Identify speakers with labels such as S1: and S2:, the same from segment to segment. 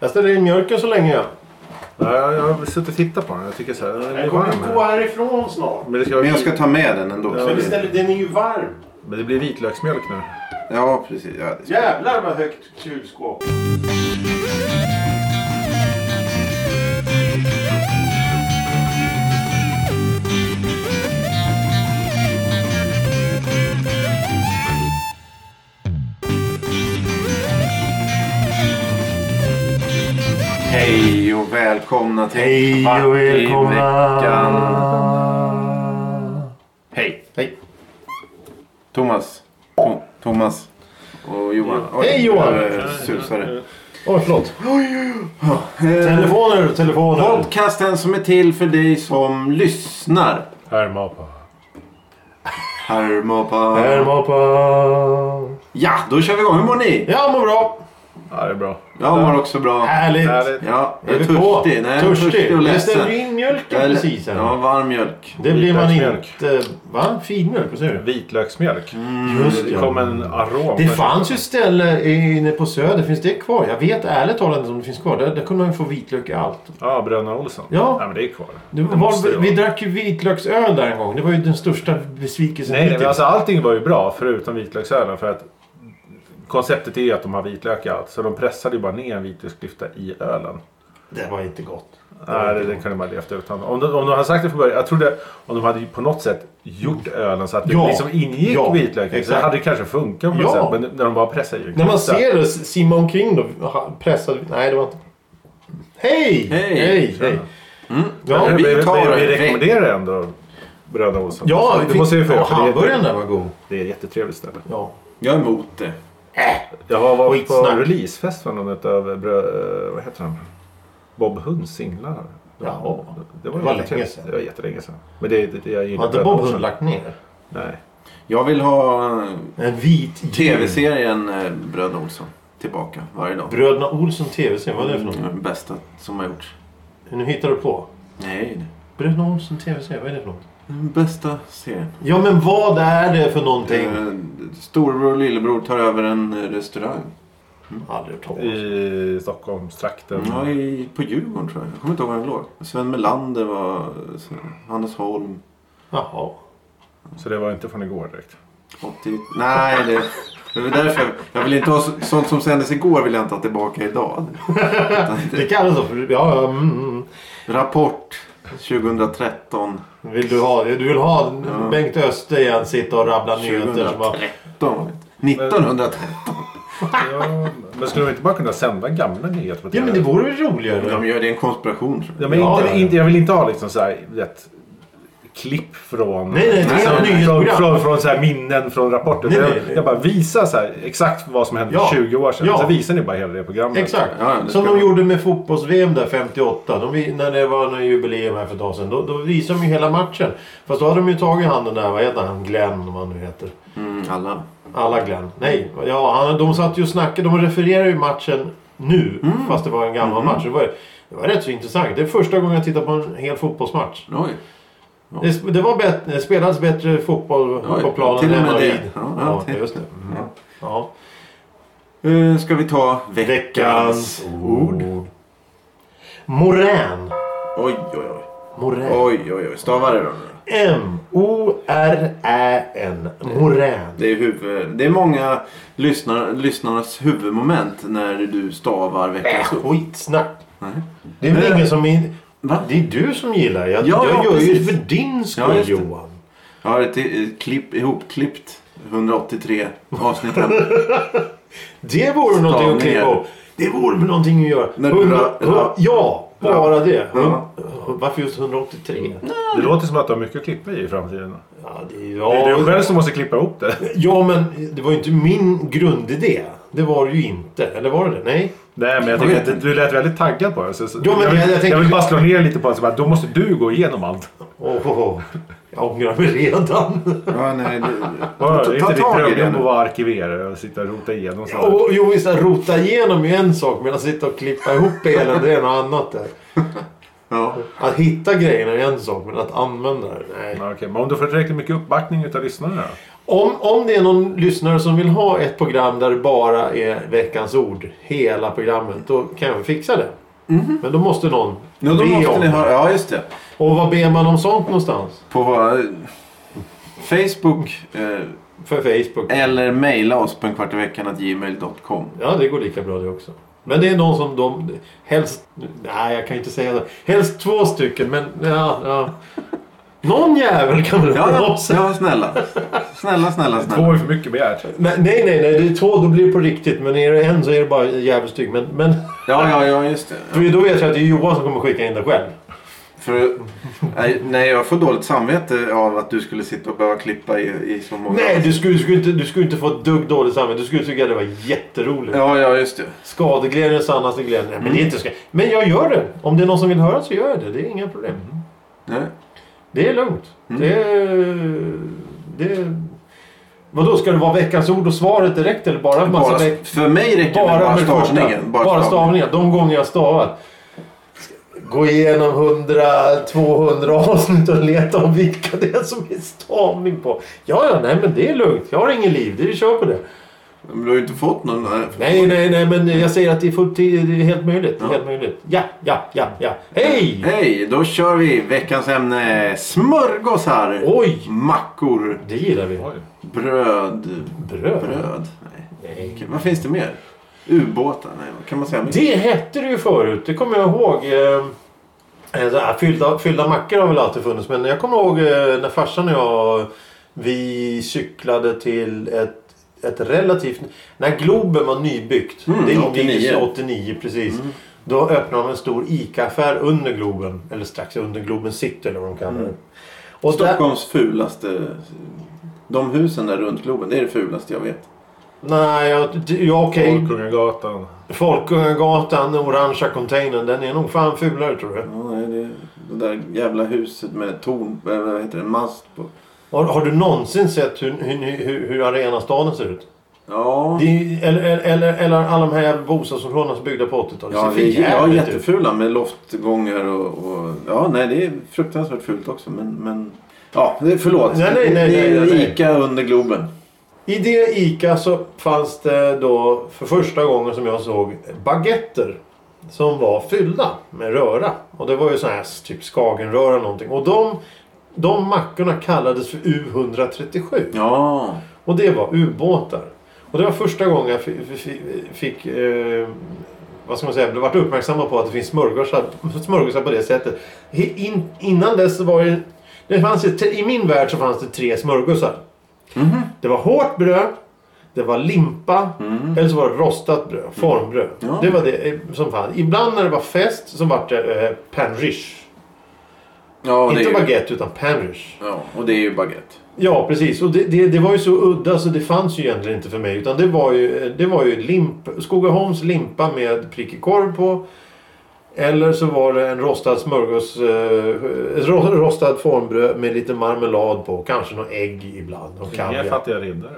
S1: Jag ställer in mjölken så länge jag.
S2: Ja, jag, jag har suttit och tittat på den. Jag tycker så här, den är
S1: Den kommer
S2: varm
S1: ju gå
S2: här.
S1: härifrån snart.
S2: Men det, ska,
S3: Men jag ska ta med den ändå.
S2: Ja,
S3: så
S1: Men
S3: det-
S2: visst.
S1: istället, den är ju varm.
S2: men det blir vitlöksmjölk nu.
S3: Ja, precis. Ja, det ska...
S1: Jävlar vad högt kylskåp.
S3: Hej och välkomna till
S1: Hej
S3: Kvart i
S1: och välkomna.
S3: veckan. Hej. Hej. Thomas. To- Thomas. Och Johan. Oj,
S1: Hej, Johan.
S3: eh, Susare. Eh,
S1: Åh, förlåt. Telefoner, telefoner.
S3: Podcasten som är till för dig som lyssnar.
S1: Härmapa.
S3: Hermapa.
S1: Härmapa.
S3: Ja, då kör vi igång. Hur mår ni?
S1: Ja, mår bra.
S2: Ja, det är bra.
S3: Jag mår också bra.
S1: Härligt.
S2: Härligt.
S3: Ja,
S1: Är
S3: jag är
S1: vi på?
S3: törstig. Nej, jag är törstig
S1: Törstig.
S3: och
S1: Jag ställde ju
S3: ledsen.
S1: in mjölken
S3: Jag är-
S1: precis här.
S3: Ja, varm mjölk.
S1: Det blir man
S2: Vitlöksmjölk.
S1: inte... Va? Finmjölk? Vad säger du?
S2: Vitlöksmjölk.
S3: Mm.
S1: Just
S2: Det
S1: ja.
S2: kom en arom.
S1: Det fanns ju ett ställe inne på Söder. Finns det kvar? Jag vet ärligt talat inte om det finns kvar. Där, där kunde man ju få vitlök i allt.
S2: Ja, Bröderna Olsson.
S1: Ja.
S2: men det är kvar.
S1: Det
S2: måste ju
S1: var, vi
S2: vara.
S1: drack ju vitlöksöl där en gång. Det var ju den största besvikelsen
S2: Nej, nej, men
S1: hittills.
S2: alltså allting var ju bra förutom vitlöksölen. För att konceptet är ju att de har vitlök i allt. Så de pressade ju bara ner en vitlöksklyfta i ölen.
S1: Det var inte gott.
S2: Nej, det, det kunde man levt utan. Om de, om de hade sagt det från början. Jag trodde om de hade ju på något sätt gjort ölen så att det
S1: Mm. Ja.
S2: liksom ingick
S1: Ja,
S2: vitlök. i, Så
S1: exakt.
S2: hade det kanske funkat på något
S1: Ja.
S2: sätt. Men när de bara pressade i en
S1: När man
S2: klyfta.
S1: ser det simma omkring då. ha- Pressad. Nej, det var inte... Hej!
S3: Hej!
S1: Hej! hej. Ja,
S2: Mm. Men
S3: vi
S2: vi,
S3: tar
S2: vi,
S3: en
S2: vi
S3: veck-
S2: rekommenderar ändå Bröderna Olsson.
S1: ja
S2: det måste vi få
S1: ja,
S2: göra. för det, är-
S1: hamburgaren där var god.
S2: det är ett jättetrevligt ställe.
S1: Ja.
S3: Jag är emot det.
S2: Jag har varit på
S1: Skitsnack.
S2: releasefest för någon utav, brö- eh, vad heter han? Bob Hunds singlar.
S1: Jaha.
S2: Det
S1: Det var
S2: var,
S1: länge
S2: länge
S1: sedan.
S2: Det var jättelänge sedan. Men det, det, det jag gillar
S1: Har inte
S2: Bröderna
S1: Bob
S2: Olsson.
S1: Hund lagt ner?
S2: Nej.
S3: Jag vill ha
S1: En vit
S3: TV-serien eh, Bröderna Olsson tillbaka varje dag. Mm,
S1: Bröderna Olsson TV-serie. Vad är det för något?
S3: Den bästa som har gjorts.
S1: Mm. Nu hittar du på.
S3: Nej,
S1: Bröderna Olsson TV-serie. Vad är det för något?
S3: den bästa serien.
S1: Ja, men vad är det för någonting?
S3: Eh, Storbror och lillebror tar över en eh, restaurang. Eh.
S1: Aldrig hört talas om.
S2: I Stockholmstrakten.
S1: Mm.
S3: Ja, i, på Djurgården tror jag. Jag kommer inte ihåg var den låg. Sven Melander var... eh, Hannes Holm.
S1: Jaha.
S2: Så det var inte från igår direkt.
S3: 80... Nej, det... Det var därför. Jag vill inte ha så- sånt som sändes igår vill jag inte ha tillbaka idag.
S1: Det kallas så. För, ja, ja, mm, mm.
S3: Rapport 2013.
S1: Vill du, ha, du vill ha Bengt Öster igen sitta och rabbla nyheter. Som bara,
S3: 2013. 1913.
S2: Ja, men skulle de inte bara kunna sända gamla nyheter på
S1: ja, men det vore väl roligare.
S3: De gör det i en konspiration tror
S2: Ja,
S3: jag.
S2: men
S1: Ja,
S2: inte,
S1: ja, ja.
S2: Inte, jag vill inte ha liksom så här, rätt klipp från...
S1: Nej, nej, det
S3: är ett
S2: från,
S1: nyhetsprogram.
S2: från, från så här minnen från rapporter.
S1: Nej,
S2: jag,
S1: nej, nej.
S2: jag bara visar så här, exakt vad som hände
S1: Ja.
S2: för 20 år sedan.
S1: Ja.
S2: Så visar ni bara hela det programmet.
S1: Exakt.
S3: Ja, det
S1: som
S3: ska
S1: de
S3: man.
S1: gjorde med fotbolls-VM där 58. De, vi- när det var någon jubileum här för ett tag sedan. Då, då visade de ju hela matchen. Fast då hade de ju tagit han den där, vad heter han, Glenn vad han nu heter.
S3: Mm, alla.
S1: Alla Glenn. Nej, ja, han, de satt ju och snackade. De refererar ju matchen nu.
S3: Mm.
S1: Fast det var en gammal
S3: Mm-hmm.
S1: match. Det var, det var rätt så intressant. Det är första gången jag tittar på en hel fotbollsmatch.
S3: Oj.
S1: Det, sp- det var bättre, det spelades bättre fotboll
S3: Oj,
S1: på planen
S3: till och
S1: än
S3: med
S1: vad
S3: det.
S1: vid.
S3: Ja,
S1: Ja,
S3: ja,
S1: just det. Mm. Ja.
S3: Eh, Ska vi ta veckans
S1: Veckans
S3: ord?
S1: ord. Morän.
S3: Oj, oj, oj.
S1: Morän.
S3: Oj, oj, oj. Stava det då.
S1: M-O-R-Ä-N. Morän.
S3: Det är, huvud, det är många lyssnar, lyssnarnas huvudmoment när du stavar veckans ord.
S1: Skitsnack.
S3: Nej.
S1: Det är väl
S3: Men-
S1: ingen som... in-
S3: Va?
S1: Det är du som gillar. Jag,
S3: Ja,
S1: jag
S3: ja,
S1: gör ju det
S3: precis.
S1: för din skull
S3: Ja, just det.
S1: Johan.
S3: Jag har ett eh, klipp, ihopklippt 183 avsnitt här.
S1: Det vore någonting att
S3: Stavningar.
S1: klippa upp. Det vore väl någonting att göra.
S3: När du
S1: Hundra,
S3: ra- ra-
S1: ja, bara det.
S3: Ja. Mm.
S1: Varför just 183?
S2: Det låter som att du har mycket att klippa i i framtiden.
S1: Ja, det,
S2: Det
S1: ja,
S2: är du själv som måste klippa ihop det.
S1: Ja, men det var ju inte min grundidé. Det var det ju inte. Eller var det det? Nej.
S2: Nej, men jag
S3: Jag
S2: tycker
S3: vet
S2: att du lät väldigt taggad på det. Så, så,
S1: Jo, men
S2: jag,
S1: jag-
S2: vill-
S1: jag tänker-
S2: jag vill bara slå ner lite på det. Så bara, då måste du gå igenom allt.
S1: Åh, oh, jag ångrar mig redan.
S3: Ja, nej, det,
S2: Bara,
S3: ta,
S2: inte
S3: ta
S2: ditt
S3: tag i det
S2: drömjobb att
S3: nu.
S2: vara arkiverare och sitta och rota igenom sånt här.
S1: Och, jo, visst, att rota igenom är ju en sak. Men att sitta och klippa ihop hela det är något annat. Där.
S3: Ja.
S1: Att hitta grejerna är en sak, men att använda det? Nej.
S2: Ja, okej. Men om du får tillräckligt mycket uppbackning utav lyssnarna då?
S1: Om, om det är någon lyssnare som vill ha ett program där det bara är veckans ord, hela programmet, då kan jag fixa det. Men då måste någon
S3: Mhm. Ja, då
S1: be
S3: måste
S1: om
S3: ni höra. Ja, just det.
S1: Och vad ber man om sånt någonstans?
S3: På våra Facebook eh,
S1: För Facebook?
S3: eller mejla oss på en kvart i veckan att gmail.com.
S1: Ja, det går lika bra det också. Men det är någon som de helst... Nej, jag kan inte säga det. Helst två stycken, men ja. ja. Någon jävel kan väl
S3: Ja,
S1: höra
S3: ja,
S1: av sig?
S3: ja, snälla. Snälla, snälla,
S2: Två
S3: snälla.
S2: är för mycket begärt.
S1: Nej, nej, nej. Det är två, då blir det på riktigt. Men är det en så är det bara djävulstyg. Men, men
S3: Ja, ja, ja, just det.
S1: för då vet jag att det är Johan som kommer skicka in det själv.
S3: För, nej, nej, jag får dåligt samvete av att du skulle sitta och behöva klippa i, i så många...
S1: Nej, du skulle, du, skulle inte, du skulle inte få ett dugg dåligt samvete. Du skulle tycka att det var jätteroligt.
S3: Ja, Mm. ja, just det.
S1: Skadeglädje är sannaste glädjen. Nej, men, det är inte ska... men jag gör det. Om det är någon som vill höra så gör jag det. Det är inga problem.
S3: Nej.
S1: Det är lugnt.
S3: Mm.
S1: Det, är- det... Vadå, ska det vara veckans ord och svaret direkt eller bara en massa
S3: Bara,
S1: veck-
S3: för mig räcker det med
S1: bara
S3: bara
S1: med första.
S3: stavningen.
S1: Bara, stavningen. De gånger jag stavat. Gå igenom 100-200 avsnitt och leta om vilka det är som är stavning på. Ja, ja, nej men det är lugnt. Jag har ingen liv. Det är, vi kör på det.
S3: Men du har ju inte fått någon... eh, Nej.
S1: Nej, nej, nej, men jag säger att det är, fullt, det är helt möjligt. Det är
S3: Ja.
S1: helt möjligt. Ja, ja, ja, ja. Hej!
S3: Hej, då kör vi veckans ämne. Smörgåsar.
S1: Oj!
S3: Mackor.
S1: Det gillar vi.
S2: Oj.
S3: Bröd.
S1: Bröd.
S3: Bröd? Nej.
S1: Nej.
S3: Okej, Vad finns det mer? Ubåtar? Nej, vad kan man säga?
S1: Det hette det ju förut. Det kommer jag ihåg. Eh, eh, så här, fyllda, fyllda mackor har väl alltid funnits. Men jag kommer ihåg eh, när farsan och jag vi cyklade till ett ett relativt... När Globen var nybyggt.
S3: Mm,
S1: det invigdes
S3: 89.
S1: 89 precis. Då öppnade de en stor ICA-affär under Globen. Eller strax under Globen City eller vad de kallar det. Och där-
S3: Stockholms fulaste... De husen där runt Globen, det är det fulaste jag vet.
S1: Nej, jag, ja, okej.
S2: Folkungagatan.
S1: Folkungagatan, den orangea containern, den är nog fan fulare tror jag.
S3: Ja, nej, det, det där jävla huset med torn... eh, Vad heter det? Mast på.
S1: Har, har du någonsin sett hur, hur, hur, hur arenastaden ser ut?
S3: Ja,
S1: Det är, eller, eller, eller, eller alla de här bostadsområdena som byggda på 80-talet.
S3: ja,
S1: det ser
S3: det,
S1: för
S3: ja
S1: jävligt ut.
S3: jättefula med loftgångar och, och... Ja, nej, det är fruktansvärt fult också, men... men ja, det, förlåt.
S1: Nej, nej, nej,
S3: det är
S1: nej, nej.
S3: Ica under Globen.
S1: I det ICA så fanns det då för första gången som jag såg baguetter. Som var fyllda med röra. Och det var ju sån här typ skagenröra eller någonting. Och de, de mackorna kallades för U137.
S3: Ja,
S1: Och det var ubåtar. Och det var första gången jag fi- fi- fi- fick... Eh, vad ska man säga? Blev varit uppmärksamma på att det finns smörgåsar, smörgåsar på det sättet. He- In, innan dess så var det... det fanns ju, I min värld så fanns det tre smörgåsar.
S3: Mhm.
S1: Det var hårt bröd. Det var limpa.
S3: Mm.
S1: Eller så var det rostat bröd. Formbröd.
S3: Ja.
S1: Det var det eh, som fanns. Ibland när det var fest så var det eh, panrish.
S3: ja det
S1: Inte
S3: är ju,
S1: baguette utan panrish.
S3: ja, och det är ju baguette.
S1: Ja, precis. Och det, det, det var ju så udda så det fanns ju egentligen inte för mig. Utan det var ju, det var ju limp, Skogaholms limpa med prickig korv på. Eller så var det en rostad smörgås... Eh, ett ro- rostad formbröd med lite marmelad på. Kanske någon ägg ibland. Och
S2: Inga
S1: kaviar.
S2: fattiga riddare.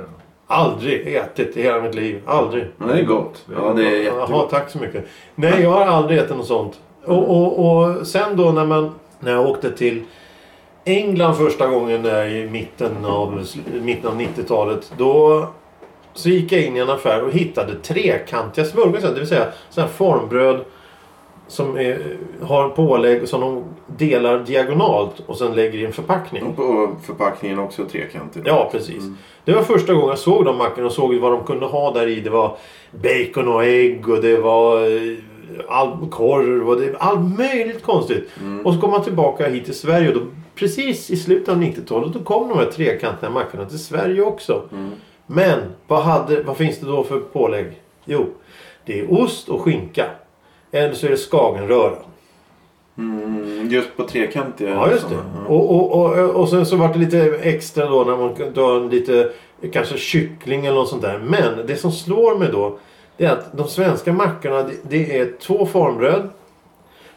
S1: Aldrig ätit i hela mitt liv. Aldrig.
S3: Men det är gott. Ja, det är jättegott.
S1: Jaha, tack så mycket. Nej, jag har aldrig ätit något sånt. Och, och, och sen då när, man, när jag åkte till England första gången där i mitten av, mitten av 90-talet. Då så gick jag in i en affär och hittade trekantiga smörgåsar. Det vill säga sådana här formbröd som är, har pålägg som de delar diagonalt och sen lägger i en förpackning.
S3: Och på förpackningen också trekantig.
S1: Ja, precis. Det var första gången jag såg de mackorna och såg vad de kunde ha där i. Det var bacon och ägg och det var eh, all korv och det, allt möjligt konstigt. Och så kom man tillbaka hit till Sverige och då, precis i slutet av 90-talet då kom de här trekantiga mackorna till Sverige också. Men vad, hade, vad finns det då för pålägg? Jo, det är ost och skinka. Eller så är det skagenröra.
S3: Mm, just på trekantiga.
S1: Ja, just det.
S3: sådana.
S1: Och, och, och, och sen så var det lite extra då när man kunde ha en lite kanske kyckling eller något sånt där. Men det som slår mig då det är att de svenska mackorna det, det är två formbröd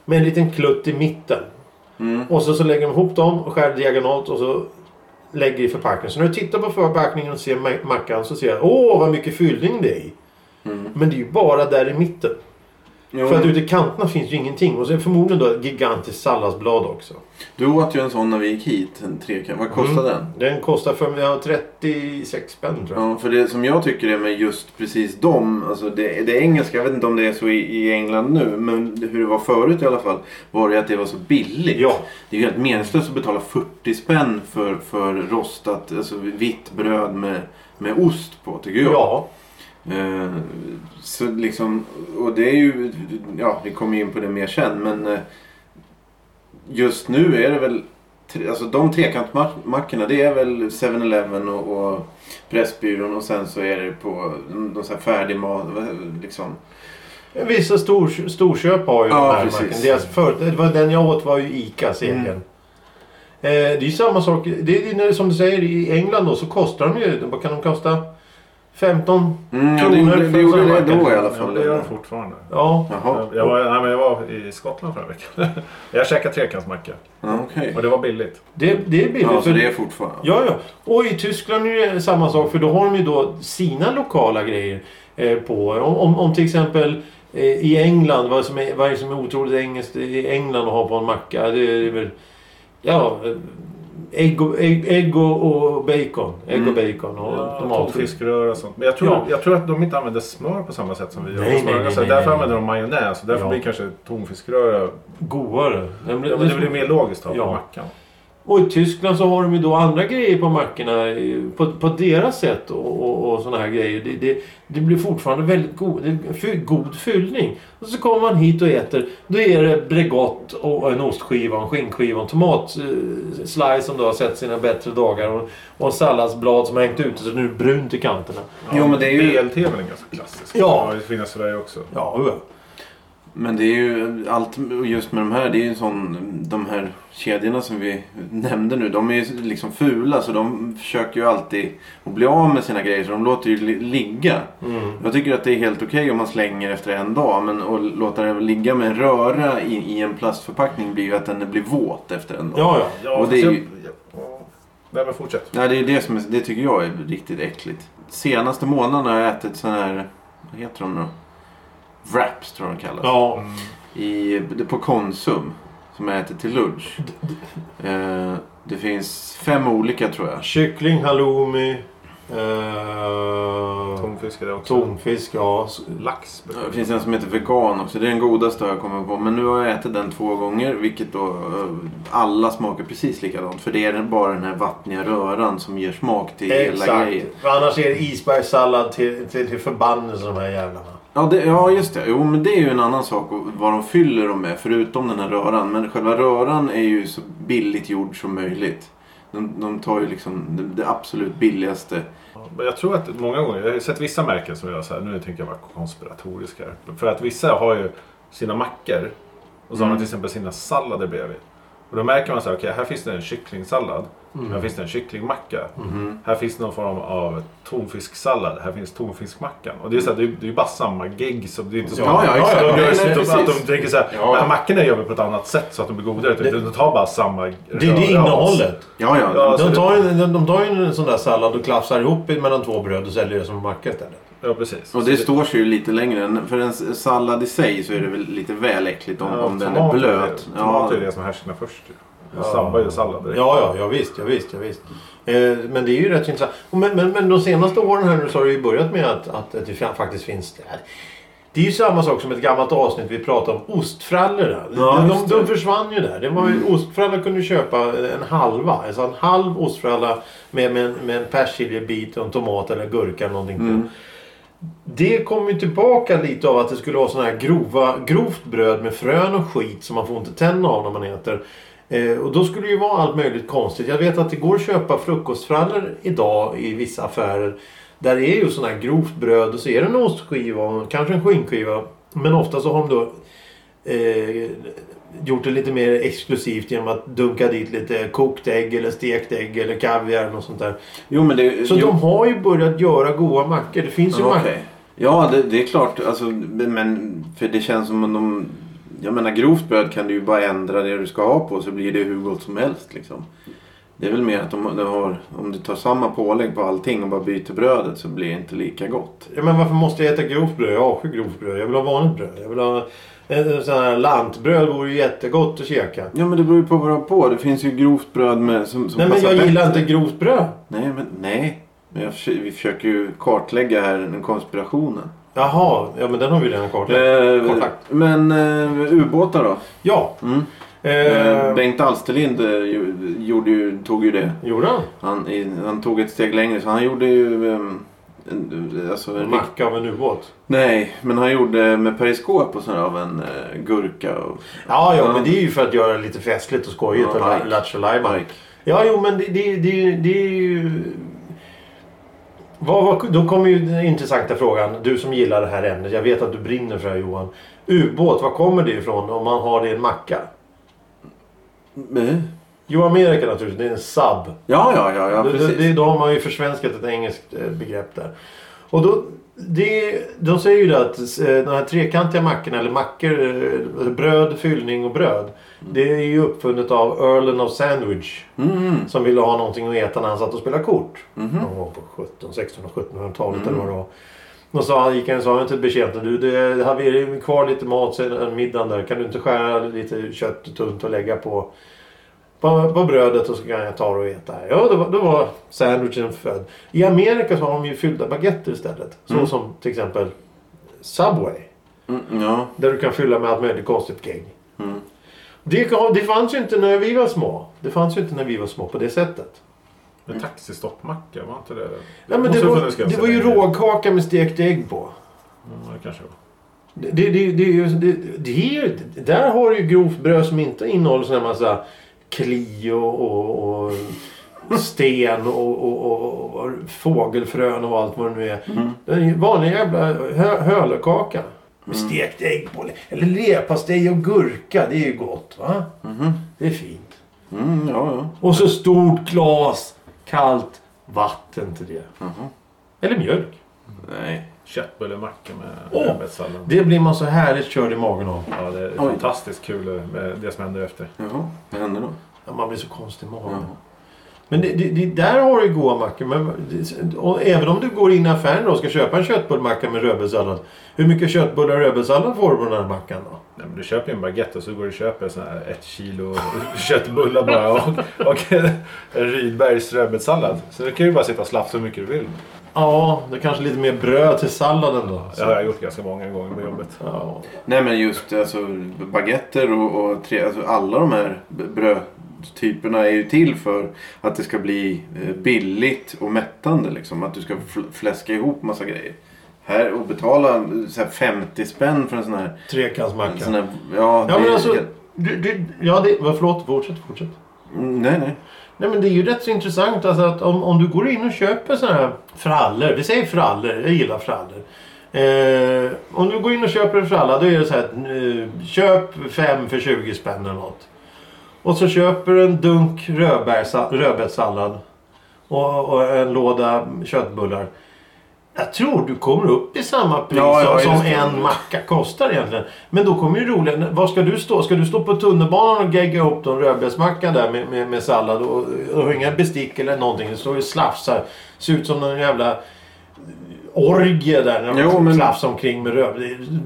S1: med en liten klutt i mitten.
S3: Mm.
S1: Och så, så lägger de ihop dem och skär diagonalt och så lägger i förpackningen. Så när du tittar på förpackningen och ser ma- Mm. mackan så ser jag åh vad mycket fyllning det är i. Men det är ju bara där i mitten.
S3: Jo.
S1: För att ute i kanterna finns ju ingenting. Och så är det förmodligen då ett gigantiskt salladsblad också.
S3: Du åt ju en sån när vi gick hit. En trekant. Vad kostade den?
S1: Mm. Den kostar för mig, ja, 36 spänn tror jag.
S3: Ja, för det som jag tycker är med just precis dem, alltså det, det engelska, jag vet inte om det är så i, i England nu, men hur det var förut i alla fall, var det att det var så billigt.
S1: Ja.
S3: Det är ju helt meningslöst att betala 40 spänn för, för rostat, alltså vitt bröd med, med ost på tycker jag.
S1: Ja.
S3: Eh, så liksom, och det är ju, ja vi kommer ju in på det mer sen, men eh, just nu är det väl, tre- alltså de trekantmackorna det är väl 7-Eleven och, och Pressbyrån och sen så är det på de, de så här färdigmat, liksom.
S1: Vissa stor, storköp har ju
S3: Ja,
S1: den här
S3: precis.
S1: marken. Deras för, det var den jag åt var ju ICAs egen.
S3: Mm.
S1: Eh, det är ju samma sak. Det är, ju när- som du säger i England då så kostar de ju, vad kan de kosta? 15?
S3: Mm, ja,
S1: Kronor
S3: det
S1: för
S3: gjorde det, gjorde
S1: samma
S3: det då
S1: macka.
S3: i alla
S2: Ja,
S3: fall.
S2: det gör
S3: eller?
S2: de fortfarande.
S1: Ja.
S3: Jaha,
S2: Jag jag var, nej, men jag var i Skottland förra veckan. jag käkade trekantsmacka
S3: ja, okej.
S2: och det var billigt.
S1: Det, det är billigt.
S3: Ja, så
S1: för-
S3: det är fortfarande.
S1: Ja, ja. Och i Tyskland är det samma sak för då har de ju då sina lokala grejer eh, på. Om, om, om till exempel eh, i England, vad, som är, vad är det som är otroligt engelskt i England att ha på en macka? Det är, det är väl, ja, eh, ägg och, ägg, ägg och och bacon. Ägg och bacon och
S2: Mm. Ja,
S1: tomatfisk.
S2: Tonfiskröra Eh, och sånt. Men jag tror,
S1: Ja.
S2: jag tror att de inte använder smör på samma sätt som vi gör.
S1: Nej, nej,
S2: Smör-
S1: nej,
S2: alltså,
S1: nej,
S2: därför
S1: nej.
S2: använder de majonnäs och därför
S1: Ja.
S2: blir kanske tonfiskröra...
S1: Godare. Den blir-
S2: Ja, men det blir mer logiskt att ha på
S1: Ja.
S2: mackan.
S1: Och i Tyskland så har de ju då andra grejer på mackorna eh, på, på deras sätt och, och, och såna här grejer. Det, det, det blir fortfarande väldigt god, det, fy, god fyllning. Och så kommer man hit och äter. Då är det Bregott och en ostskiva, och en skinkskiva, och en tomatslice som då har sett sina bättre dagar och, och en salladsblad som har hängt ute så nu är det brunt i kanterna.
S3: Jo, men det är ju-
S2: BLT är väl en ganska klassisk?
S1: Ja.
S2: Det finns i Sverige också.
S1: Ja, ja.
S3: Men det är ju allt och just med de här. Det är ju en sån, de här kedjorna som vi nämnde nu. De är ju liksom fula så de försöker ju alltid att bli av med sina grejer. Så de låter ju li- ligga.
S1: Mm.
S3: Jag tycker att det är helt okej om man slänger efter en dag. Men att låta det ligga med en röra i, i en plastförpackning blir ju att den blir våt efter en dag.
S1: ja, ja.
S2: Ja,
S3: Och
S2: fast
S3: det är
S2: jag-
S3: ju-
S2: jag- Nej, men fortsätt.
S3: Nej, det, är ju det, som är, det tycker jag är riktigt äckligt. Senaste månaden har jag ätit sån här, vad heter de nu? Wraps tror jag de kallas.
S1: Ja,
S3: i, på Konsum som jag äter till lunch. Eh, det finns fem olika tror jag.
S1: kyckling, halloumi, eh,
S2: Tonfisk är det också.
S1: tonfisk, ja. s-
S2: Lax.
S3: Det finns en som heter vegan också. Det är den godaste jag kommer på. Men nu har jag ätit den två gånger vilket då eh, alla smakar precis likadant. För det är bara den här vattniga röran som ger smak till hela
S1: Exakt.
S3: grejen.
S1: Annars är det isbergssallad till, till, till förbannelse de här jävlarna.
S3: Ja, det, ja just det. Jo men det är ju en annan sak och vad de fyller dem med förutom den här röran. Men själva röran är ju så billigt gjord som möjligt. De, de tar ju liksom det, det absolut billigaste.
S2: Ja, Men jag tror att många gånger, jag har sett vissa märken som gör så här, nu tänker jag vara konspiratorisk här. För att vissa har ju sina mackor och så har de till exempel sina sallader bredvid. Och då märker man så här, okej här finns det en kycklingsallad.
S1: Mm.
S2: Här finns det en kycklingmacka. Här finns det någon form av tonfisksallad. Här finns tonfiskmackan. Och det är så här, det är det är ju bara samma gegg. Så det är inte så
S3: Ja, ja, exakt.
S2: De,
S3: Nej,
S2: gör
S3: nej,
S2: ju så att de,
S3: precis.
S2: att de tänker så här,
S3: Ja.
S2: "Nej, mackorna gör vi på ett annat sätt så att de blir godare.
S1: Det-
S2: de tar bara samma
S1: Det är det innehållet.
S3: Ja, ja.
S2: Ja,
S1: De
S2: Alltså,
S1: tar, ju, de, de tar ju en sån där sallad och klafsar ihop mellan två bröd och säljer det som en macka istället.
S2: Ja, precis.
S3: Och
S2: Så
S3: det står sig ju lite längre. än- För en s- sallad i sig så är det väl lite väl äckligt om, om den är
S2: tomat
S3: blöt.
S2: Är det,
S3: Ja,
S2: tomat är det som härsknar först. ju. Sabbar ju sallad direkt.
S1: Ja, ja, ja visst, ja, visst, ja, visst. Eh, men det är ju rätt intressant. Och Men, men, men de senaste åren här nu så har det ju börjat med att, att, att det fa- faktiskt finns... Det, här. det är ju samma sak som ett gammalt avsnitt vi pratade om ostfrallorna.
S3: Ja,
S1: de,
S3: just
S1: de,
S3: det. Mm.
S1: de försvann ju där. Det var ju, Ostfralla kunde du köpa en halva. Alltså en halv ostfralla med, med, en- med en persiljebit och en tomat eller gurka eller någonting på.
S3: Mm.
S1: Det kom ju tillbaka lite av att det skulle vara såna här grova, grovt bröd med frön och skit som man får inte tänna av när man äter. Eh, och då skulle det ju vara allt möjligt konstigt. Jag vet att det går att köpa frukostfrallor idag i vissa affärer. Där det är ju sådana här grovt bröd och så är det en ostskiva och kanske en skinkskiva. Men ofta så har de då eh, gjort det lite mer exklusivt genom att dunka dit lite kokt ägg eller stekt ägg eller kaviar och sånt där.
S3: Jo, men det...
S1: Så
S3: jo,
S1: de har ju börjat göra goda mackor. Det finns ju
S3: ja,
S1: mackor.
S3: okej. Ja, det, det är klart. Alltså, men, för det känns som om de... Jag menar, grovt bröd kan du ju bara ändra det du ska ha på så blir det hur gott som helst. Liksom. Det är väl mer att de, de har, om du tar samma pålägg på allting och bara byter brödet så blir det inte lika gott.
S1: Ja, men varför måste jag äta grovt bröd? Jag avskyr grovt bröd. Jag vill ha vanligt bröd. Jag vill ha... En sån här lantbröd vore ju jättegott att käka.
S3: Ja men det beror ju på vad du har på. Det finns ju grovt bröd med, som, som
S1: Nej men
S3: passar
S1: jag gillar
S3: bättre.
S1: inte grovt bröd.
S3: Nej men nej. Men jag, försö- vi försöker ju kartlägga här den konspirationen.
S1: Jaha, ja men den har vi redan kartlagt.
S3: Eh,
S1: Kontakt.
S3: men eh, ubåtar då?
S1: Ja.
S3: Mm. Eh,
S1: Eh,
S3: Bengt Alsterlind eh, ju- gjorde ju, tog ju det.
S1: gjorde han?
S3: Han, i, han tog ett steg längre så han gjorde ju... ehm, en- Alltså, en rikt-
S1: Macka av en ubåt.
S3: nej, men han gjorde med periskop och sådär av en eh, gurka och
S1: Ja, ja,
S3: Ja.
S1: men det är ju för att göra det lite festligt och skojigt.
S3: Ja,
S1: och la-
S3: like.
S1: lattjo lajban.
S3: Mike.
S1: Ja, jo men det, det, det, det är ju... Vad, vad, då kommer ju den intressanta frågan. Du som gillar det här ämnet. Jag vet att du brinner för det här Johan. Ubåt, var kommer det ifrån om man har det i en macka?
S3: Eh,
S1: Jo, Amerika naturligtvis. Det är en sub.
S3: Ja, ja, ja, ja
S1: Det- det,
S3: precis.
S1: det, då har man ju försvenskat ett engelskt eh, begrepp där. Och då, det, de säger ju det att eh, de här trekantiga mackorna, eller mackor, eh, bröd, fyllning och bröd. Det är ju uppfunnet av Earlen of Sandwich.
S3: Mm, mhm.
S1: Som ville ha någonting att äta när han satt och spelade kort. Någon gång på 17, 16 och 1700-talet eller vad det var. Då sa han, gick han och sa till betjänten. Du, det har vi kvar lite mat sen middagen där. Kan du inte skära lite kött tunt och lägga på, på, på brödet och så kan jag ta det och äta. Ja, då, var- då var sandwichen född. I Amerika så har de ju fyllda baguetter istället. Så som till exempel Subway.
S3: mm, ja. mm,
S1: Där du kan fylla med allt möjligt konstigt gäng. Det, det fanns ju inte när vi var små. Det fanns ju inte när vi var små på det sättet.
S2: Men taxistoppmacka, var inte det? mm,
S1: Nej, men det,
S2: måste ha
S1: var,
S2: funnits
S1: det
S2: ganska
S1: var ju
S2: länge.
S1: rågkaka med stekt ägg på.
S2: Mm, det kanske var.
S1: Det, det, det, det, är ju- det, det, är ju- där har du ju grovt bröd som inte innehåller sån här massa kli och, och, och sten och, och, och, och fågelfrön och allt vad det nu är. Den är ju vanliga jävla hö, hölekaka. Med stekt ägg på. Eller leverpastej och gurka. Det är ju gott va? Det är fint.
S3: mhm. Mm, ja, ja.
S1: Och så stort glas kallt vatten till det. Eller mjölk.
S3: Nej.
S2: Köttbullemacka med
S1: Åh!
S2: rödbetssallad.
S1: Det blir man så härligt körd i magen av.
S2: Ja, det är
S3: Oj.
S2: fantastiskt kul eh, med det som händer efter.
S3: Jaha, vad hände då?
S1: Ja, man blir så konstig i magen.
S3: Jaha.
S1: Men det, det, det, där har du goda mackor. Men det, och även om du går in i affären då och ska köpa en köttbullmacka med rödbetssallad. Hur mycket köttbullar och rödbetssallad får du på den här mackan då?
S2: Nej, men du köper ju en baguette och så går du och köper sån här ett kilo köttbullar bara och, och en Rydbergs rödbetssallad. Så du kan ju bara sitta och slafsa hur mycket du vill.
S1: Ja, det är kanske lite mer bröd till salladen då.
S2: Det har jag gjort ganska många gånger på jobbet.
S1: Ja.
S3: Nej men just alltså, baguetter och, och tre, alltså, alla de här b- brödtyperna är ju till för att det ska bli eh, billigt och mättande. Liksom. Att du ska fl- fläska ihop massa grejer. Här och betala eh, så här 50 spänn för en sån här... En sån
S1: Trekantsmacka.
S3: här ja,
S1: Ja
S3: det
S1: men
S3: är
S1: alltså.
S3: helt-
S1: Du, du, ja, det, vad- förlåt, fortsätt, fortsätt.
S3: Mm, nej, nej.
S1: Nej men det är ju rätt så intressant alltså att om, om du går in och köper såna här frallor. Vi säger frallor, jag gillar frallor. Eh, om du går in och köper en fralla då är det så här att eh, köp fem för 20 spänn eller något. Och så köper du en dunk rödbärsa- rödbetssallad och, och en låda köttbullar. Jag tror du kommer upp i samma pris
S3: Ja, ja,
S1: som
S3: just det.
S1: en macka kostar egentligen. Men då kommer ju roligen, var ska du stå? Ska du stå på tunnelbanan och gegga upp en rödbetsmacka där med, med, med sallad och, och har inga bestick eller någonting. Du står och slafsar. Ser ut som någon jävla orgie där när
S3: Jo,
S1: man
S3: men-
S1: slafsar omkring med röv.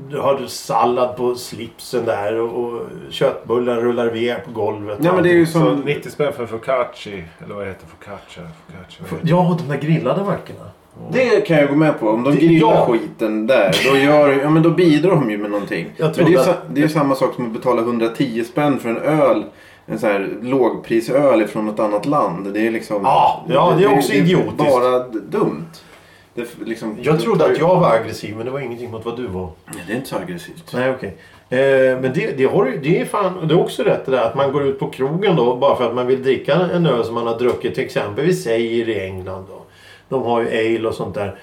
S1: Du har du sallad på slipsen där och, och köttbullar rullar iväg på golvet.
S3: Ja, men det är ju
S2: Så
S3: som...
S2: 90 spänn för focacci, eller vad heter focaccia? focaccia vad heter det?
S1: Ja, de där grillade mackorna.
S3: Det kan jag gå med på. Om de
S1: Det-
S3: grillar
S1: ja.
S3: skiten där, då, gör, ja, men då bidrar de ju med någonting.
S1: Jag
S3: Men det, är ju,
S1: trodde
S3: sa-
S1: att-
S3: det är ju samma sak som att betala 110 spänn för en öl. En sån här lågprisöl från något annat land. Det är liksom...
S1: Ja, ja, det är också
S3: ju
S1: idiotiskt.
S3: bara d- dumt. Det, är f- liksom,
S1: Jag trodde att jag var aggressiv men det var ingenting mot vad du var.
S3: Nej, det är inte så aggressivt.
S1: Nej, okej. Eh, men det, det, har, ju- det är fan, och det är också rätt det där att man går ut på krogen då bara för att man vill dricka en öl som man har druckit till exempel vi säger i England då. De har ju ale och sånt där.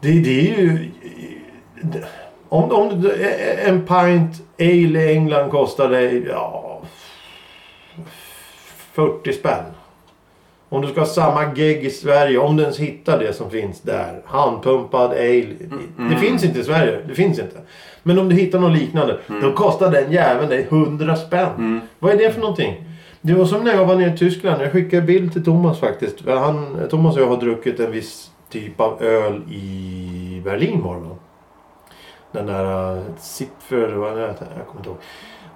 S1: Det, det är ju... det- Om, om du- en pint ale i England kostar dig ja, 40 spänn. Om du ska ha samma gegg i Sverige, om du ens hittar det som finns där. Handpumpad ale. Det finns inte i Sverige. Det finns inte.
S3: Mm.
S1: Men om du hittar något liknande, då kostar den jäveln dig 100 spänn. Vad är det för någonting? Det var som när jag var nere i Tyskland. Jag skickade bild till Thomas faktiskt. Han, Thomas och jag har druckit en viss typ av öl i Berlin var det va? Den där äh, Zipfer, eller vad det heter. Jag kommer inte ihåg.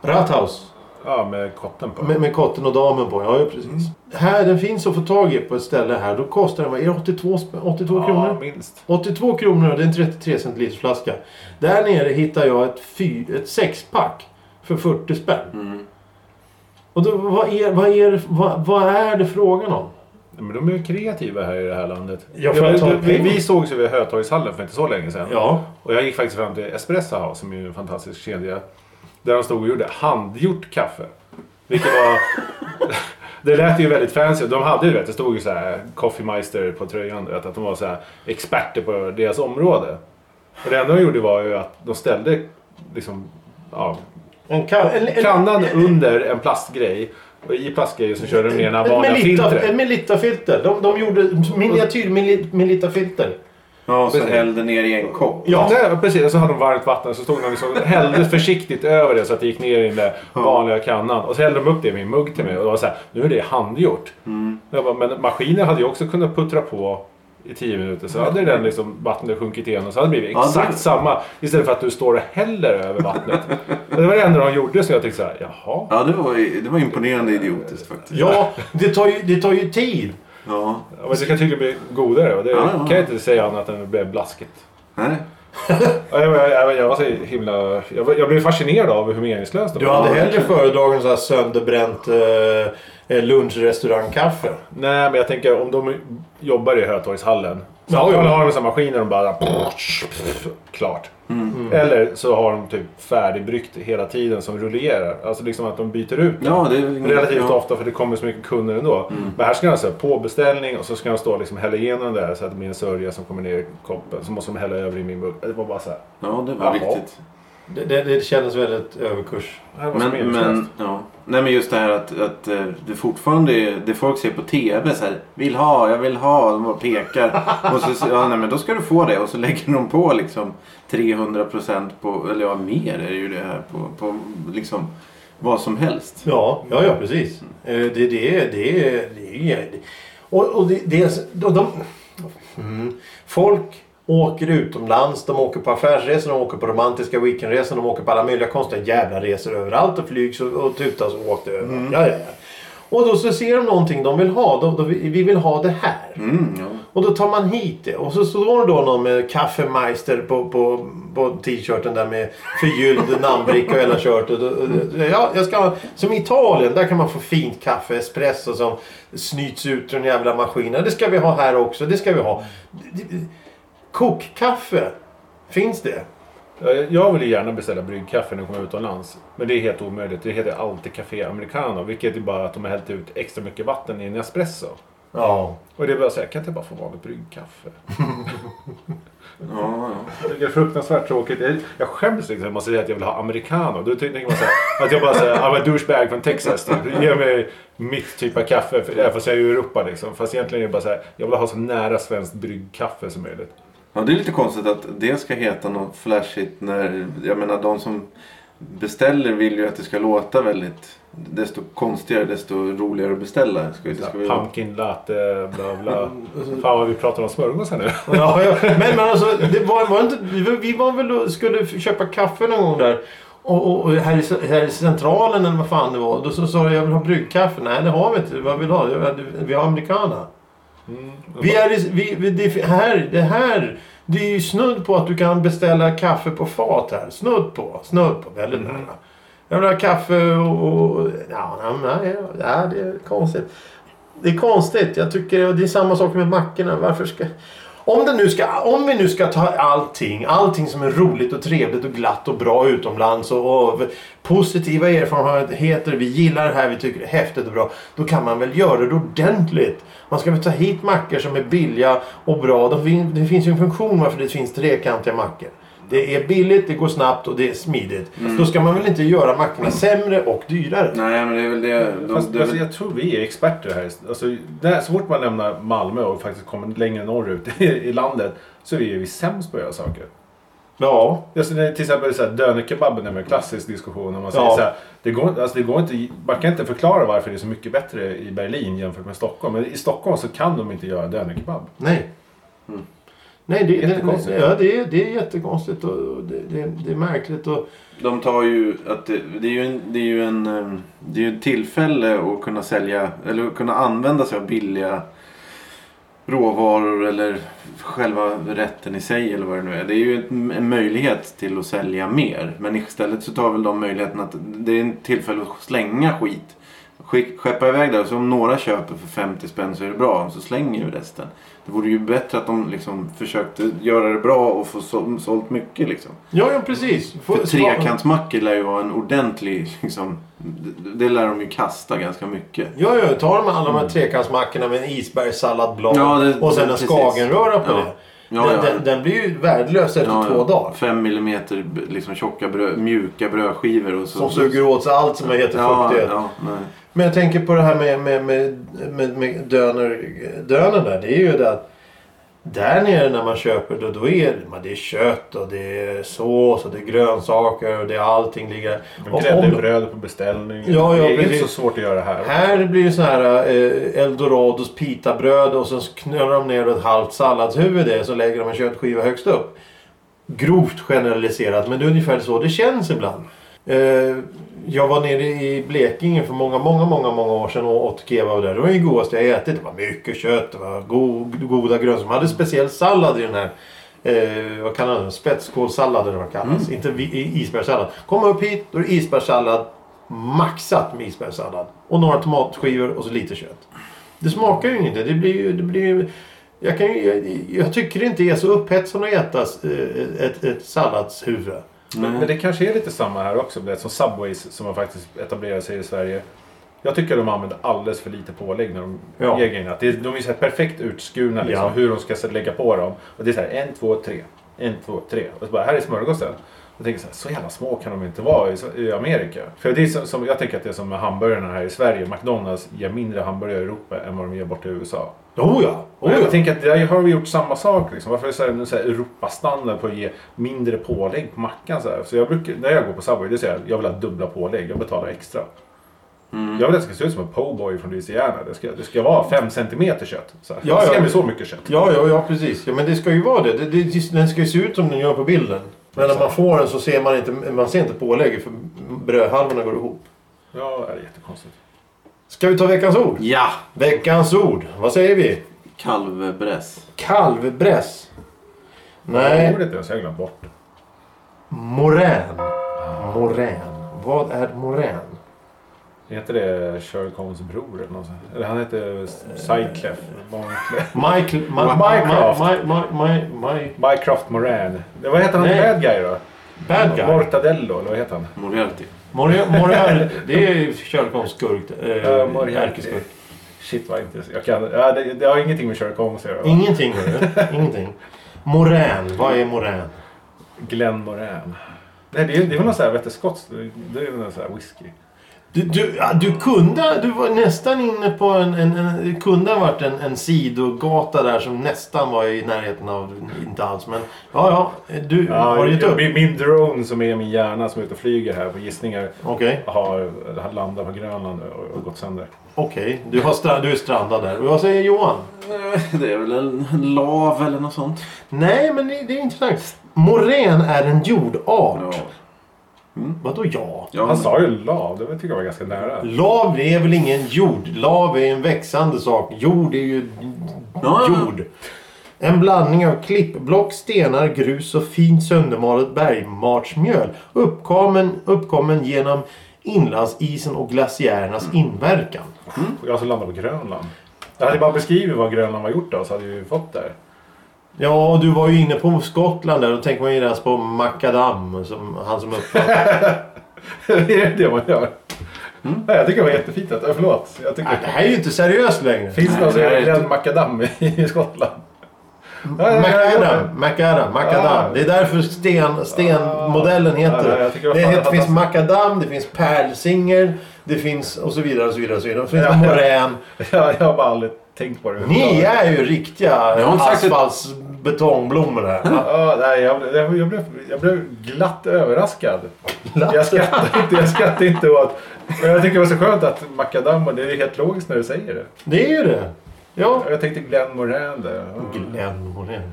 S1: Rathaus.
S2: Ja, med kotten på.
S1: Med, med kotten och damen på. Ja, ja, precis.
S2: Mm.
S1: Här, den finns att få tag i på ett ställe här. Då kostar den, vad är det, 82, spänn- 82 kronor?
S2: Ja, minst.
S1: 82 kronor och det är en 33 centiliters flaska. Där nere hittar jag ett, fy, ett sexpack för 40 spänn.
S3: Mm.
S1: Och då, vad, är, vad, är, det- vad, vad är det frågan om?
S2: Nej, Men de är ju kreativa här i det här landet.
S1: Ja, för att ta
S2: vi- vi,
S1: pengar.
S2: vi sågs ju vid Hötorgshallen för inte så länge sedan.
S1: Ja,
S2: Och jag gick faktiskt fram till Espresso House som är ju en fantastisk kedja. Där de stod och gjorde handgjort kaffe. Vilket var... det lät ju väldigt fancy. De hade ju vet, det stod ju så här Coffeemeister på tröjan. du Vet, att de var så här experter på deras område. Och det enda de gjorde var ju att de ställde liksom, ja,
S1: en kan, en, en,
S2: kannan under en plastgrej. Och i plastgrejen så körde de ner den här
S1: ett
S2: vanliga
S1: Melitta, ett
S2: filtret.
S1: Melitta-filter. De, de gjorde miniatyr meli- Melitta-filter.
S3: Ja, och så
S2: Precis.
S3: hällde ner i en kopp.
S2: Ja. Nej, precis. Och så hade de varmt vatten så stod de liksom, hällde försiktigt över det så att det gick ner i den där vanliga kannan. Och så hällde de upp det i min mugg till mig och det var så här, nu är det handgjort. Jag bara, men maskinen hade ju också kunnat puttra på i tio minuter så hade den liksom vattnet sjunkit igen och så hade det blivit
S3: Ja,
S2: exakt
S3: det-
S2: samma istället för att du står och häller över vattnet. Och det var det enda de gjorde så jag tänkte så här, jaha.
S3: Ja, det var, ju- det var imponerande idiotiskt faktiskt.
S1: Ja, det tar ju, det tar ju tid.
S3: Ja.
S2: Ja, Men det ska tydligen bli godare och det
S3: Ja, ja.
S2: kan jag inte säga annat än att det blev blaskigt.
S3: Nej.
S2: Ja, Jag, jag, jag, jag var så himla... Jag, var- jag blev fascinerad av hur meningslöst det
S1: Du
S2: var.
S1: hade hellre
S3: verkligen.
S1: föredragit så här sönderbränt eh, lunchrestaurangkaffe.
S2: Nej, men jag tänker om de jobbar i Hötorgshallen. Så
S1: Ja,
S2: ja,
S1: ja.
S2: har de samma maskiner och bara... Klart.
S3: Mm.
S1: Mm.
S2: Eller så har de typ färdigbryggt hela tiden som rullerar. Alltså liksom att de byter ut den.
S3: Ja, det är inget-
S2: Relativt
S3: ja. Mm.
S2: ofta för det kommer så mycket kunder ändå. Men här ska de säga på beställning och så ska de stå och liksom hälla igenom det här så att det blir en sörja som kommer ner i koppen. Så måste de hälla över i min mugg. Det var bara så här.
S3: Ja, det
S2: Jaha.
S3: var riktigt.
S1: Det, det, det kändes väldigt överkurs.
S2: Det här var så
S3: Men,
S2: meningslöst.
S3: men, ja. Nej, men just det här att, att eh, det fortfarande är det folk ser på TV. Så här, vill ha, jag vill ha. De bara pekar. Och så säger ja, nej, men då ska du få det. Och så lägger de på liksom 300 procent på, eller ja, mer är det ju det här på, på liksom vad som helst.
S1: Ja, ja, ja precis. Eh, Det, det, är- det, är- det är... Och, och det, det är... Och de, mm. Folk åker utomlands, de åker på affärsresor, de åker på romantiska weekendresor, de åker på alla möjliga konstiga jävla resor överallt och flygs och, och tutas och åker överallt. Ja, ja, ja. Och då så ser de någonting de vill ha. De, de, vi vill ha det här.
S3: Mm, ja.
S1: Och då tar man hit det. Och så står det då någon med kaffemeister på, på, på t-shirten där med förgylld namnbricka och hela körtet. Och- och- Ja, jag ska, som i Italien, där kan man få fint kaffe, espresso som snyts ut ur den jävla maskinen. Det ska vi ha här också, det ska vi ha. Kokkaffe, finns det?
S2: Jag- Eh, Jag vill ju gärna beställa bryggkaffe när jag kommer utomlands. Men det är helt omöjligt. Det heter alltid Café Americano. Vilket är bara att de har hällt ut extra mycket vatten i en espresso.
S1: Ja.
S2: Och det är bara så här, kan inte jag bara få vanligt bryggkaffe?
S3: Ja, ja.
S2: Jag tycker Det är fruktansvärt tråkigt. Jag, jag skäms liksom när man säger att jag vill ha Americano. Då tänker man så här, att jag bara säger, I'm a douchebag från Texas. Typ. Ge mig mitt typ av kaffe. För, ja, fast jag är ju i Europa liksom. Fast egentligen är det bara så här, jag vill ha så nära svenskt bryggkaffe som möjligt.
S3: Ja, det är lite konstigt att det ska heta något flashigt när, jag menar de som beställer vill ju att det ska låta väldigt, desto konstigare desto roligare att beställa. Ska, det
S2: Så
S3: ska
S2: här,
S3: vi, ja,
S2: pumpkin latte, bla bla. Fan vad vi pratar om smörgåsar nu.
S1: Ja, ja. Men, men alltså, det var, var inte, vi var väl och skulle köpa kaffe någon gång där. Och, och, och här, i, här i centralen eller vad fan det var. Då så sa jag jag vill ha bryggkaffe. Nej det har vi inte. Vad vill du ha? Jag, vi har americana.
S2: Mm.
S1: Vi är i, vi, vi, det, här, det här. Det är ju snudd på att du kan beställa kaffe på fat här. Snudd på. Snudd på. Väldigt nära. Jag vill ha kaffe och... och ja, nej, nej, ja, det är konstigt. Det är konstigt. Jag tycker det är samma sak med mackorna. Varför ska... Om, det nu ska, om vi nu ska ta allting, allting som är roligt och trevligt och glatt och bra utomlands och, och positiva erfarenheter, vi gillar det här, vi tycker det är häftigt och bra. Då kan man väl göra det ordentligt. Man ska väl ta hit mackor som är billiga och bra. Det fin- Det finns ju en funktion varför det finns trekantiga mackor. Det är billigt, det går snabbt och det är smidigt. Då ska man väl inte göra mackorna sämre och dyrare.
S3: Nej men det är väl det. De,
S2: Fast,
S3: det är
S2: alltså,
S3: väl,
S2: jag tror vi är experter här. Alltså, där, så fort man lämnar Malmö och faktiskt kommer längre norrut i, i landet så är vi sämst på att göra saker.
S1: Ja.
S2: Just, det, till exempel så här, dönerkebaben är en klassisk diskussion. Om man säger
S1: Ja.
S2: så här, det går, inte- alltså, det går inte, man kan inte förklara varför det är så mycket bättre i Berlin jämfört med Stockholm. Men i Stockholm så kan de inte göra dönerkebab.
S1: Nej.
S3: Mm.
S1: Nej, det, det,
S2: Jättekonstigt.
S1: det, ja, det, är- det är jättekonstigt och och det, det, det är märkligt. Och,
S3: De tar ju att det, det är ju en, det är ju en ehm, det är ju ett tillfälle att kunna sälja eller att kunna använda sig av billiga råvaror eller själva rätten i sig eller vad det nu är. Det är ju ett- en möjlighet till att sälja mer. Men istället så tar väl de möjligheten att det är ett tillfälle att slänga skit. Skick, skeppa iväg det. Så om några köper för 50 spänn så är det bra. Så slänger ju resten. Det vore ju bättre att de liksom försökte göra det bra och få så, sålt mycket liksom.
S1: ja, ja, precis. Få-
S3: För
S1: spa-
S3: trekantsmackor lär ju vara en ordentlig liksom. Det, det lär de ju kasta ganska mycket.
S1: Ja, ja, ta de alla de här trekantsmackorna med en isbergssalladblad
S3: Mm. Ja, det-
S1: och sen en
S3: precis.
S1: skagenröra på
S3: Ja.
S1: det.
S3: Ja,
S1: den,
S3: ja.
S1: Den, den blir ju värdelös efter två dagar.
S3: Fem millimeter b- liksom tjocka bröd, mjuka brödskivor och så.
S1: Som suger åt sig allt som heter
S3: ja,
S1: fuktighet.
S3: ja, nej.
S1: Men jag tänker på det här med, med, med, med, med döner, döner där. Det är ju det att där nere när man köper då, då är det, men det är kött och det är sås och det är grönsaker och det är allting ligger
S2: De
S1: Och
S2: grädde
S1: om-
S2: bröd på beställning.
S1: Ja, ja,
S2: det är inte
S1: precis.
S2: så svårt att göra här.
S1: Här blir det så här eh, eldorados pitabröd och sen knölar de ner ett halvt salladshuvud i det så lägger de en köttskiva högst upp. Grovt generaliserat men det är ungefär så det känns ibland. Eh, jag var nere i Blekinge för många, många, många, många år sedan och åt kebab där. Det var ju det godaste jag ätit. Det var mycket kött, det var go- goda grönsaker. De hade speciell sallad i den här. Eh, vad kallar den? Spetskålssallad eller vad det kallas. Inte vi- i- isbergssallad. Kom upp hit, då är det isbergssallad. Maxat med isbergssallad. Och några tomatskivor och så lite kött. Det smakar ju ingenting. Det blir ju... Det blir ju jag, kan ju, jag, jag tycker det inte är så upphetsande att äta eh, ett, ett salladshuvud.
S2: Men, men det kanske är lite samma här också. Det är som Subways som har faktiskt etablerat sig i Sverige. Jag tycker de använder alldeles för lite pålägg när de
S1: Ja.
S2: ger grejerna. Det är- De är så här perfekt utskurna liksom,
S1: Ja.
S2: hur de ska så lägga på dem. Och det är så här en, två, tre. En, två, tre. Och så bara, här är smörgåsen. Jag tänker så här, så jävla små kan de inte vara i, i Amerika. För det är som, som, jag tänker att det är som med hamburgarna här i Sverige. McDonalds ger mindre hamburgare i Europa än vad de ger borta i USA.
S1: Oh ja!
S2: Och
S1: Oh ja.
S2: jag tänker att där har vi gjort samma sak. Liksom. Varför är det så här, en så här Europastandard på att ge mindre pålägg på mackan? Så, här? så jag brukar, när jag går på Subway, det säger jag, jag vill ha dubbla pålägg. Jag betalar extra.
S1: Mm.
S2: Jag vill att det ska se ut som en po'boy från Louisiana. Det ska, det ska vara 5 cm kött. Så här.
S1: Ja,
S2: det ska
S1: ja.
S2: bli så mycket kött.
S1: Ja, ja, ja precis. Ja, men det ska ju vara det. det, det den ska ju se ut som den gör på bilden. Men när man får den så ser man inte, man ser inte pålägget för brödhalvorna går ihop.
S2: Ja, det är jättekonstigt.
S1: Ska vi ta veckans ord?
S3: Ja!
S1: Veckans ord. Vad säger vi?
S3: Kalvbräss.
S1: Kalvbräss.
S2: Nej.
S1: Nej,
S2: Ordet är så jag har glömt bort.
S1: morän. Morän. Vad är morän?
S2: Är inte det Sherlock Holmes bror eller något sånt? Eller han heter Sideclef. Barnclef.
S1: Michael... Mi-
S2: Mycroft.
S1: Mi- Mi- Mi- Mi- Mi-
S2: Bycroft Moran. Vad heter han i
S1: Nej.
S2: Bad Guy då?
S1: Bad guy.
S2: Mortadello, eller vad heter han?
S3: Moriarty.
S1: Morian. Morian. Det är ju Sherlock Holmes skurk.
S2: Ja, Moriarty.
S1: Eh, ärkeskurk.
S2: Shit vad intressant. Jag kan, ja, det, det har ingenting med Sherlock Holmes att göra. va?
S1: Ingenting. hörru. Ingenting. Morän. Vad är morän?
S2: Glenn Moran. Nej, det är ju det är väl någon sån här, vet du, skotsk, det är ju någon sån här whisky.
S1: Du, du, ja, du kunde, du var nästan inne på en, en, en det kunde ha varit en, en sidogata där som nästan var i närheten av, inte alls men ja ja, du har gett upp.
S2: min, min drone som är min hjärna som är ute och flyger här på gissningar
S1: Okej,
S2: har, har landat på Grönland och, och gått sönder.
S1: okej, du, har stra- du är strandad där. Vad säger Johan?
S3: Eh, Det är väl en lav eller något sånt.
S1: Nej men det, det är intressant. Morän är en jordart.
S3: Ja.
S1: Vadå ja?
S3: Ja,
S2: Han sa ju lav, det var- tycker jag var ganska nära.
S1: Lav är väl ingen jord? Lav är en växande sak. Jord är ju
S3: ja, ja.
S1: jord. En blandning av klippblock, stenar, grus och fint söndermalet bergmartsmjöl. Uppkommen, uppkommen genom inlandsisen och glaciärernas inverkan. Mm.
S2: Och Jag som landade på Grönland. Jag hade bara beskrivit vad Grönland var gjort av så hade jag ju fått där.
S1: Ja, och du var ju inne på Skottland där. Då tänker man ju deras på Macadam. Som, han som uppfann.
S2: det är det man gör. Nej, jag tycker det var jättefint. Att, äh, förlåt. Jag tycker
S1: Mm. Nej, det här är ju inte seriöst längre.
S2: Finns det
S3: Nej,
S2: någon som
S3: det
S2: gör
S3: är
S2: grädd makadam i- i Skottland? Ja, ja, ja, ja.
S1: Macadam, Macadam,
S2: Ah.
S1: Macadam. Det är därför sten, stenmodellen
S2: Ah,
S1: heter
S2: nej, jag
S1: det.
S2: tycker det var
S1: Det,
S2: fan
S1: heter, finns
S2: fantastiskt.
S1: Macadam, det finns pärlsinger, det finns och så vidare och så vidare. Och så vidare. Det finns
S2: Ja.
S1: morän.
S2: Jag, jag har bara aldrig tänkt på det.
S1: Ni är ju riktiga
S3: Jag har inte sagt ett-
S1: asfaltsbetongblommor här.
S2: Ja, nej, jag, blev- jag, blev, jag blev glatt överraskad. Jag skrattar inte, jag skrattar inte åt... Men jag tycker det var så skönt att Macadam, och det är helt logiskt när du säger det.
S1: Det är ju det. Ja.
S2: Jag tänkte Glenn Morän där. Ja,
S1: Glenn Morén.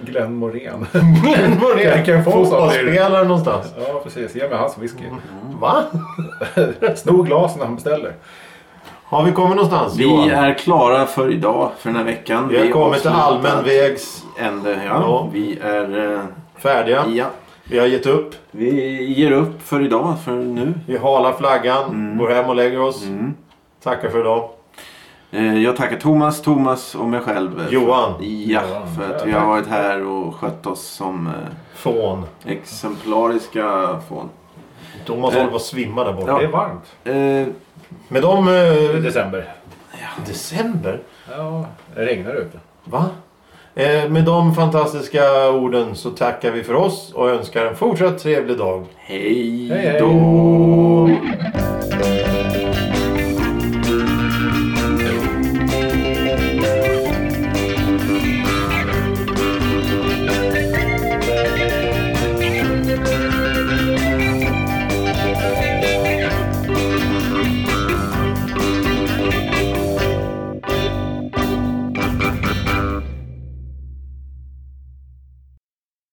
S2: Glenn Morén.
S1: Glenn
S2: Jag
S1: Morén.
S2: kan få en sån.
S1: Fotbollsspelare någonstans.
S2: Ja, precis. Ge mig hans whisky.
S1: Va?
S2: Sno glasen när han beställer.
S1: Har vi kommit någonstans
S3: Vi
S1: Johan?
S3: är klara för idag, för den här veckan.
S1: Vi har kommit till
S3: avslutar
S1: allmän vägs
S3: Ände, ja.
S1: Ja.
S3: Vi är... eh,
S1: färdiga.
S3: Ja.
S1: Vi har gett upp.
S3: Vi ger upp för idag, för nu.
S1: Vi halar flaggan. Går hem och lägger oss.
S3: Mm.
S1: Tackar för idag.
S3: Eh, Jag tackar Thomas, Thomas och mig själv. eh, för-
S1: Johan.
S3: Ja,
S2: Johan.
S3: för att vi har varit här och skött oss som eh,
S1: Fån.
S3: exemplariska fån.
S1: Thomas
S3: Eh.
S1: håller på att svimma där borta.
S3: Ja.
S2: Det är varmt.
S3: Eh,
S1: Med de...
S2: Det är
S1: Eh,
S2: december.
S1: december?
S2: Ja, det regnar ute.
S1: Va? Eh, med de fantastiska orden så tackar vi för oss och önskar en fortsatt trevlig dag.
S3: Hej
S2: Hej, hej.
S3: då!
S2: Hej.